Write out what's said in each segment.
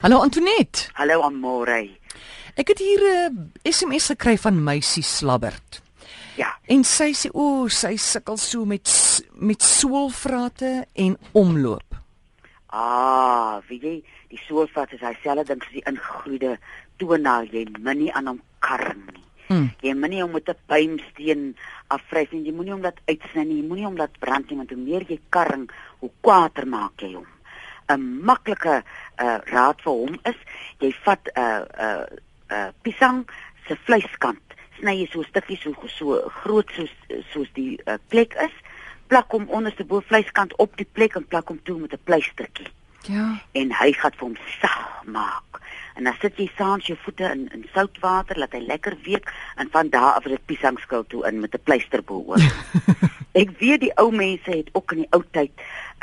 Hallo Antonet. Hallo Amore. Ek het hier 'n uh, SMS gekry van meisie Slabbert. Ja. En sy sê o, sy sukkel so met s- met soolvrate en omloop. Ah, weet jy, die soulvat is dieselfde ding soos die ingegroeide toonaal. Jy min nie aan hom karm nie. Mm. Jy min nie hom met 'n pymsteen afvryf nie. Jy moenie hom laat uitsny nie. Jy moenie hom laat brand nie, want hoe meer jy karm, hoe kwaader maak jy hom. 'n Maklike uh, raad vir hom is, jy vat 'n uh, 'n uh, uh, pisang se vleiskant. Sny jy so stukkies so so groot soos soos die uh, plek is. Plak hom onderste bo vleiskant op die plek en plak hom toe met 'n pleistertjie Ja. en hy gaan vir hom sag maak. En dan sit jy saans jou voete in in soutwater, laat hy lekker week en van daar af is dit piesangskil toe in met 'n pleister bo oor. Ek weet die ou mense het ook in die ou tyd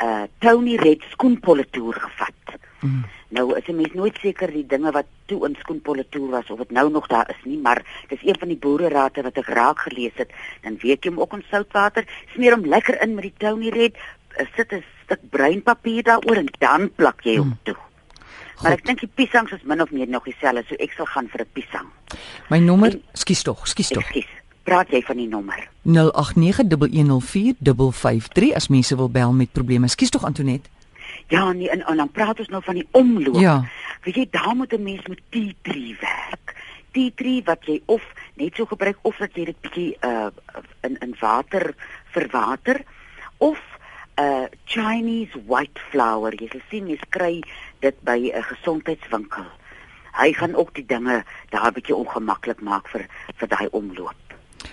uh Tony Red skoenpolle toer gevat. Mm. Nou is 'n mens nooit seker die dinge wat toe in skoenpolle toer was of dit nou nog daar is nie, maar dis een van die boererate wat ek raak gelees het. Dan weet jy hom ook in soutwater, smeer hom lekker in met die Tony Red, eh, sit 'n stuk breinpapier daaroor en dan plak jy hom toe. Maar ek dink die piesangs is min of meer nog dieselfde, so ek sal gaan vir 'n piesang. My nommer, skus tog, skus tog. Ekskuus. Praat jy van die nommer? 0891104553 as mense wil bel met probleme. Skus tog Antonet. Ja, nee, en, en dan praat ons nou van die omloop. Ja. Weet jy, daar moet 'n mens met T3 werk. T3 wat jy of net so gebruik of dat jy dit bietjie uh in in water verwater of uh Chinese white flour. Jy sal sien jy kry dit by 'n gesondheidswinkel. Hy gaan ook die dinge daar bietjie ongemaklik maak vir vir daai omloop.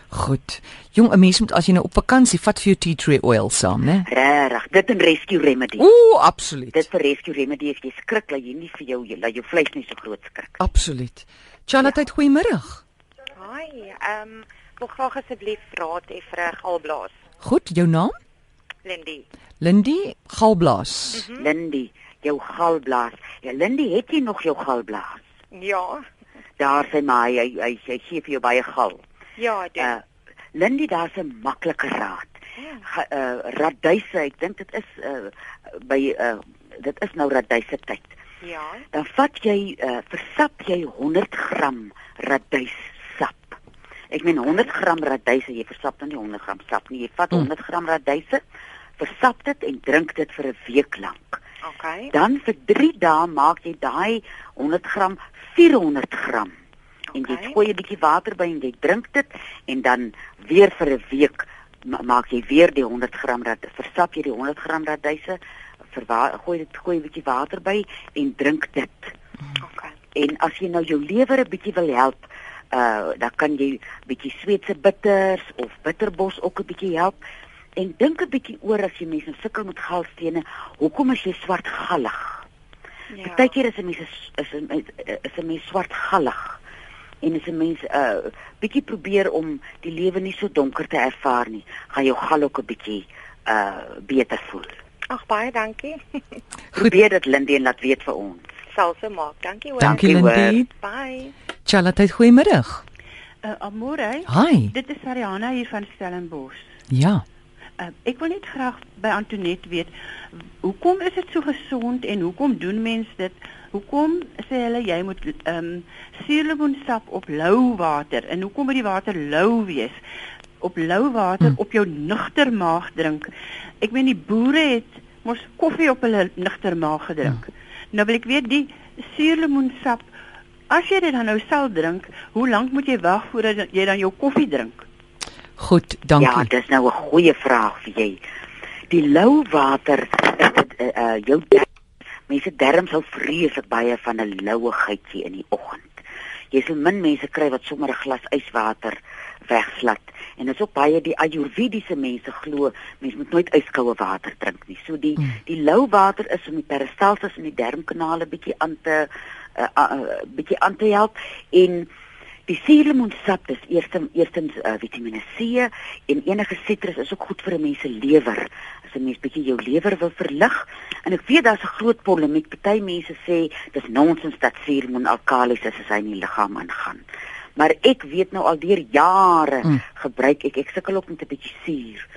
Goed. Jong, 'n mens moet as jy nou op vakansie vat vir jou tea tree oil saam, né? Regtig, dit 'n rescue remedy. Ooh, absoluut. Dit vir rescue remedy is jy skrik dat jy nie vir jou jy- dat jou vleis nie so groot skrik. Absoluut. Charlotte, ja. goeiemiddag. Hi, ehm um, wil graag asseblief raad hê vir 'n galblaas, Goed, jou naam? Lindy. Lindy Galblaas. Hmm? Lindy, jou galblaas. Ja, Lindy, het jy nog jou galblaas? Ja, Daar sê maar hy hy, hy, hy gee vir jou baie gal. ja, dit. Uh, Uh, Lindy, daar's 'n maklike raad. Ga, uh, raduise, ek dink dit is uh, by uh, dit is nou raduise tyd. ja, Dan vat jy uh, versap jy 100 gram raduissap. Ek meen 100 gram raduise, jy versap dan nie 100 gram sap nie. Jy vat Hmm. 100 gram raduise, versap dit en drink dit vir 'n week lank. okay. Dan vir 3 dae maak jy daai 100 gram 400 gram. En jy Oké. gooi 'n bietjie water by en jy drink dit en dan weer vir 'n week ma maak jy weer die 100 gram dat versap jy die 100 gram raduise verwa- gooi dit gooi 'n bietjie water by en drink dit. Okay. En as jy nou jou lewer 'n bietjie wil help, uh dan kan jy bietjie Sweedse bitters of bitterbos ook 'n bietjie help. En dink 'n bietjie oor as jy mense nou sukkel met galstene, hoekom is jy swartgallig? Ja. Partykeer is 'n mens is is 'n mens- is 'n mens swartgallig en as 'n mens 'n uh, bietjie probeer om die lewe nie so donker te ervaar nie, gaan jou gal ook 'n bietjie uh beter voel. Ag baie dankie. Probeer dit Lindy en laat weet vir ons. Sal so maak. Dankie hoor. Dankie Dankie, Lindy. Bye. Charlotte, goeiemiddag. Uh, Amore, Hi. dit is Ariana hier van Stellenbosch. Ja. Uh, ek wil net graag by Antonet weet, w- hoekom is dit so gesond en hoekom doen mense dit? Hoekom sê hulle jy moet ehm um, suurlemoensap op lou water en hoekom moet die water lou wees? Op lou water Hmm. op jou nugter maag drink. Ek meen die boere het mos koffie op hulle nugter maag gedrink. Nou wil ek weet die suurlemoensap As jy dit dan nou self drink, hoe lank moet jy wag voordat jy dan jou koffie drink? Goed, dankie. Ja, dis nou 'n goeie vraag vir jy. Die lou water is dit uh, uh jou der, mense darmes hou vreeslik baie van 'n louigheidjie in die oggend. Jy sal min mense kry wat sommer 'n glas yswater wegslat. En dit is ook baie die ayurvediese mense glo mens moet nooit yskoue water drink nie. So die Mm. die lou water is om die peristalsis in die darmkanale bietjie aan te uh, uh, uh, bietjie aan te help en Die suurlemoensap is eerstens eerstens uh, Vitamiene C en enige sitrus is ook goed vir 'n mens se lewer. As 'n mens bietjie jou lewer wil verlig en ek weet daar's 'n groot polemiek. Party mense sê dis nonsens dat suurlemoen alkalis is as hy in die liggaam ingaan. Maar ek weet nou al deur jare Mm. mm. gebruik ek ek sukkel ook met 'n bietjie suur.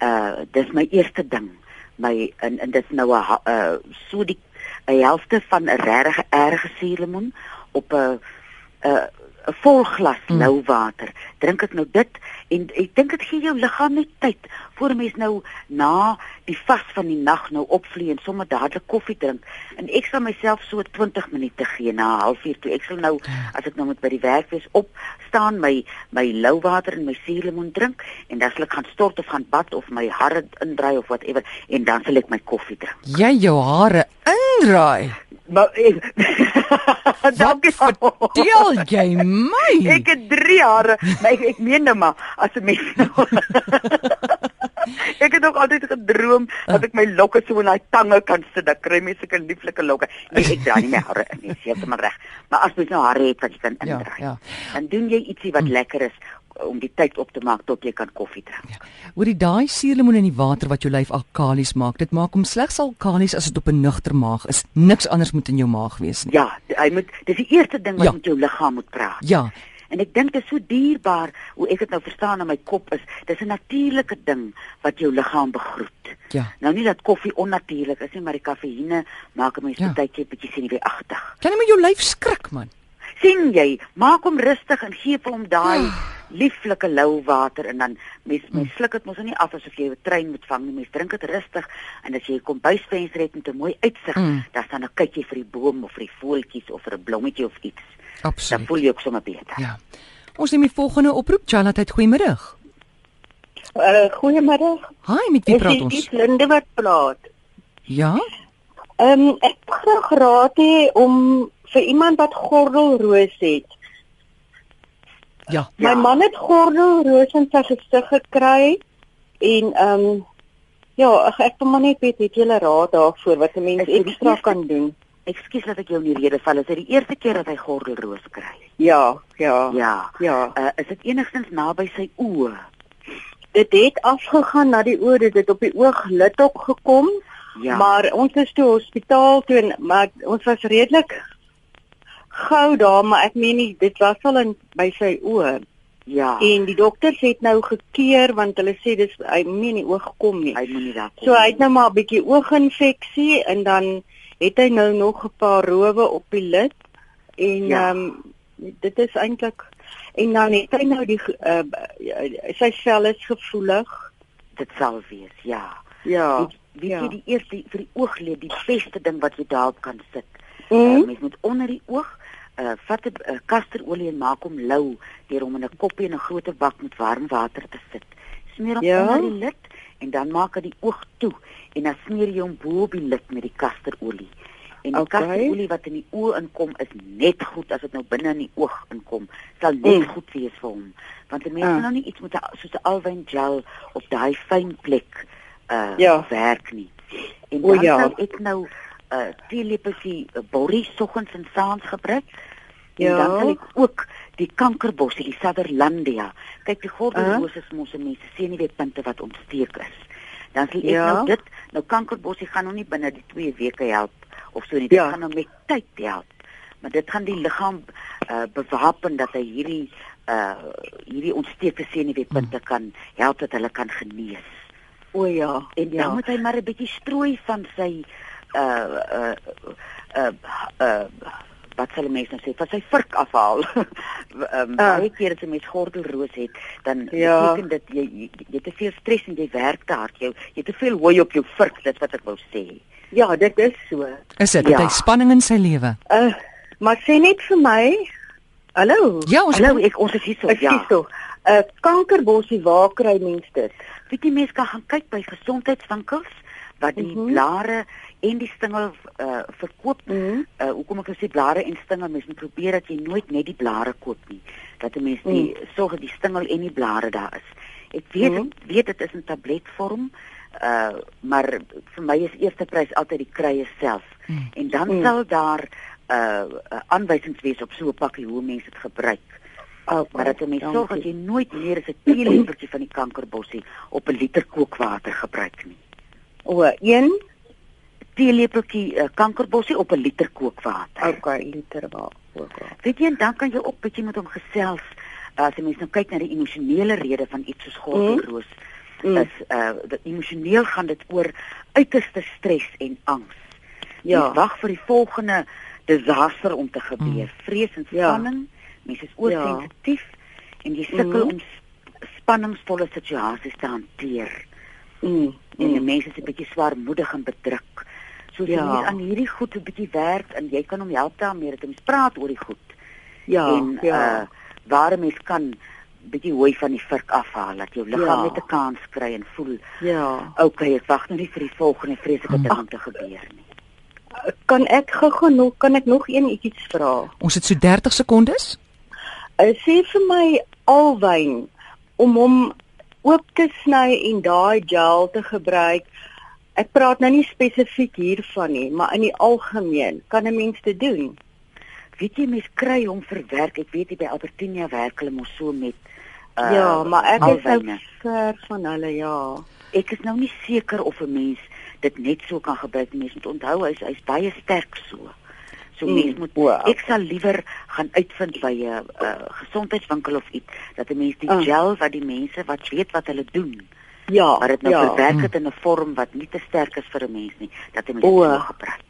Eh, Uh dis my eerste ding. My en en dis nou 'n ha- uh eh, so die 'n helfte van 'n regtig erge suurlemoen op 'n 'n 'n vol glas Mm. mm. lou water. Drink ek nou dit en ek dink dit gee jou liggaam net tyd voor 'n mens nou na die vas van die nag nou opvlieg en sommer dadelik koffie drink. En ek sal myself so 20 minute gee na 0.30 toe. Ek sal nou as ek nou moet by die werk wees op staan my my lou water en my suurlemoen drink en dan sal ek gaan stort of gaan bad of my hare indry of whatever en dan sal ek my koffie drink. Jy jou hare indraai. Maar ek Wat dankie vir vertel jy my? Ek het 3 jare, maar ek ek meen nou maar as 'n mens nou. ek het ook altyd gedroom dat ek my lokke so in daai tange kan sit, dan kry mense sulke lieflike lokke. Nee, ek draai nie my hare in nie, sekerlik reg. Maar as mens nou hare het wat jy kan Ja, indraai, ja. Hm. dan doen jy ietsie wat lekker is om die tyd op te maak tot jy kan koffie drink. Ja. Oor die daai suurlemoen in die water wat jou lyf alkalies maak, dit maak hom slegs alkalies as dit op 'n nugter maag is. Niks anders moet in jou maag wees nie. Ja, hy moet dis die eerste ding wat Ja. ja. met jou liggaam moet praat. Ja, En ek dink dit is so dierbaar hoe ek dit nou verstaan in my kop is. Dis 'n natuurlike ding wat jou liggaam begroet. ja. Nou nie dat koffie onnatuurlik is nie, maar die kafeïne maak 'n mens Ja. ja. partykeer bietjie senuweeagtig. Kan jy met jou lyf skrik man? sien jy, maak hom rustig en gee vir hom daai Ah. lieflike lou water en dan mens mens Hmm. sluk dit mos nou nie af asof jy 'n trein moet vang nie. Mens drink dit rustig en as jy 'n kombuisvenster het met 'n mooi uitsig, Mm. mm. dan staan ek kyk jy vir die boom of vir die voeltjies of vir 'n blommetjie of iets. Dan Absoluut. voel jy ook sommer beter. Ja. Ons neem die volgende oproep. Charlotte, het goeiemiddag. Ja. Uh, goeiemiddag. Hi, met wie Is praat dit ons? Iets Linde wat praat. Ja. Ehm um, ek wil graag raad hê om vir iemand wat gordelroos het. Ja. Ja. My man het gordelroos in sy gesig gekry en ehm um, ja, ag, ek wil maar net weet het jy raad daarvoor wat 'n mens Is dit die ekstra eerste- kan doen? Ekskuus dat ek jou in die rede val. Is dit die eerste keer dat hy gordelroos kry? Ja, ja. Ja. Ja. ja. Uh, is dit enigstens naby sy oë? Dit het afgegaan na die oor, dit het op die oog lid ook gekom. Ja. Maar ons is toe hospitaal toe en maar ons was redelik gou daar, maar ek meen nie dit was al in by sy oë ja. en die dokters het nou gekeer want hulle sê dis hy meen nie oog kom nie. Hy moenie daar kom. So hy het nou maar 'n bietjie ooginfeksie en dan het hy nou nog 'n paar rowe op die lid en ehm Ja. ja. um, dit is eintlik en dan het hy nou die ge- uh, sy vel is gevoelig. dit sal wees, ja. Ja. Weet, weet ja. jy die eerste vir die ooglid die beste ding wat jy daarop kan sit. Mm. Uh, mens moet onder die oog uh vat 'n uh, kasterolie en maak hom lou deur hom in 'n koppie en 'n groot bak met warm water te sit. Smeer hom Ja. onder die lid en dan maak hy die oog toe en dan smeer jy hom bo op die lid met die kasterolie. En die Okay. okay. kasterolie wat in die oë inkom is net goed as dit nou binne in die oog inkom, sal net Mm. mm. goed wees vir hom. Want 'n mens Ah. kan nou nie iets met 'n soos 'n alwyn gel op daai fyn plek uh Ja. werk nie. En O, dan ja. sal ek nou uh teelepeltjie uh, borrie soggens en saans gebruik. En Ja. dan sal ek ook die kankerbossie, die Sutherlandia. Kyk, die gordelroos is mos 'n mens se senuweepunte wat ontsteek is. Dan sal ek Ja. ja. nou dit, nou kankerbossie gaan nou nie binne die 2 weke help of so nie. Dit Ja. ja. gaan nou met tyd help. Maar dit gaan die liggaam uh bewapen dat hy hierdie uh hierdie ontsteekte Hm. senuweepunte kan help dat hulle kan genees. O ja. En dan ja. ja. moet hy maar 'n bietjie strooi van sy uh uh uh uh wat sal mense nou sê, van sy vurk afhaal. Ehm um, Ah. baie keer as 'n mens gordelroos het, dan Ja. beteken dit jy jy, jy het te veel stres en jy werk te hard. Jou jy het te veel hooi op jou vurk, dit wat ek wou sê. Ja, dit is so. Is dit ja. Ja. hy spanning in sy lewe? Uh, maar sê net vir my. Hallo. Ja, ons Hallo, ek ons is hier so, Ek ja. sien tog. 'n uh, Kankerborsie, waar kry mense dit? Weet jy mense kan gaan kyk by gesondheidswinkels wat die mm Mhm. -hmm. blare en die stingel uh, verkoop. Mm Mhm. -hmm. uh, hoekom ek nou sê blare en stingel, mens moet probeer dat jy nooit net die blare koop nie. Dat 'n mens die mm. sorg dat die stingel en die blare daar is. Ek weet mm Mhm. -hmm. weet dit is in tabletvorm, uh maar vir my is eerste prys altyd die kruie self. Mm. Mm. En dan Mm. mm. sal daar uh uh, aanwysings wees op so 'n pakkie hoe mense dit gebruik. Oh, Maar dat 'n mens sorg dat jy nooit meer as 'n teelepeltjie van die kankerbossie op 'n liter kookwater gebruik nie. O, een. Teelepeltjie uh, kankerbossie op 'n liter kookwater. Okay, liter waar. ook al. Weet jy en dan kan jy ook bietjie met hom gesels. As 'n mens nou kyk na die emosionele rede van iets soos gordelroos, Mm. mm. is eh uh, emosioneel gaan dit oor uiterste stres en angs. Ja. Mens wag vir die volgende desaster om te gebeur. Mm. Vrees en Ja. spanning. Ja. Mense is oorsensitief ja. en jy sukkel Mhm. mm. om s- spanningsvolle situasies te hanteer. Mm. en die mense is 'n bietjie swaarmoedig en bedruk. So as jy Ja. ja. aan hierdie goed 'n bietjie werk en jy kan hom help daarmee dat ons praat oor die goed. Ja, en ja. uh waar 'n mens kan bietjie hooi van die vurk afhaal dat jou liggaam ja. Ja. net 'n kans kry en voel, ja. okay, ek wag nou nie vir die volgende vreeslike ding om te gebeur nie. Kan ek gou-gou nog kan ek nog een ietsie vra? Ons het so 30 sekondes. Uh, sê vir my alwyn om hom oop te sny en daai gel te gebruik. Ek praat nou nie spesifiek hiervan nie, maar in die algemeen kan 'n mens dit doen. Weet jy mens kry hom verwerk. Ek weet jy by Albertinia werk hulle mos so met Uh, ja, maar ek is nou alwyne. ver van hulle, ja. Ek is nou nie seker of 'n mens dit net so kan gebruik nie. Mens moet onthou hy's hy's baie sterk so. So Mm, mens moet wow. ek sal liewer gaan uitvind by 'n uh, gesondheidswinkel of iets dat 'n mens die Ah. uh. gel wat die mense wat weet wat hulle doen, Ja, maar dit nou ja. ja. verwerk het in 'n vorm wat nie te sterk is vir 'n mens nie, dat 'n mens O. dit so gebruik.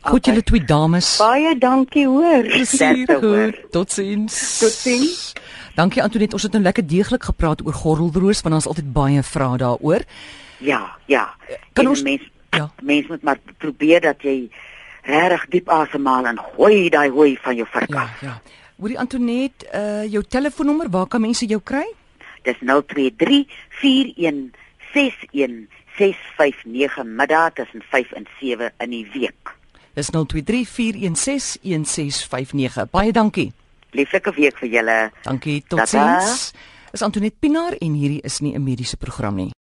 Goed julle twee dames. Baie dankie hoor. sterkte, hoor. Totsiens. Totsiens. Dankie Antoinette, ons het nou lekker deeglik gepraat oor gordelroos want ons het altyd baie vrae daaroor. Ja, ja. Kan En ons- mens ja. mens moet maar probeer dat jy regtig diep asemhaal en gooi daai hooi van jou verkaf. Ja, ja. Hoorie Antoinette, uh jou telefoonnommer, waar kan mense jou kry? Dis 023 4161 659 middag tussen 5 en 7 in die week. Dis 0234161659. Baie dankie. Lieflike week vir julle. Dankie. Tata. Totsiens. Dis Antoinette Pinaar en hierdie is nie 'n mediese program nie.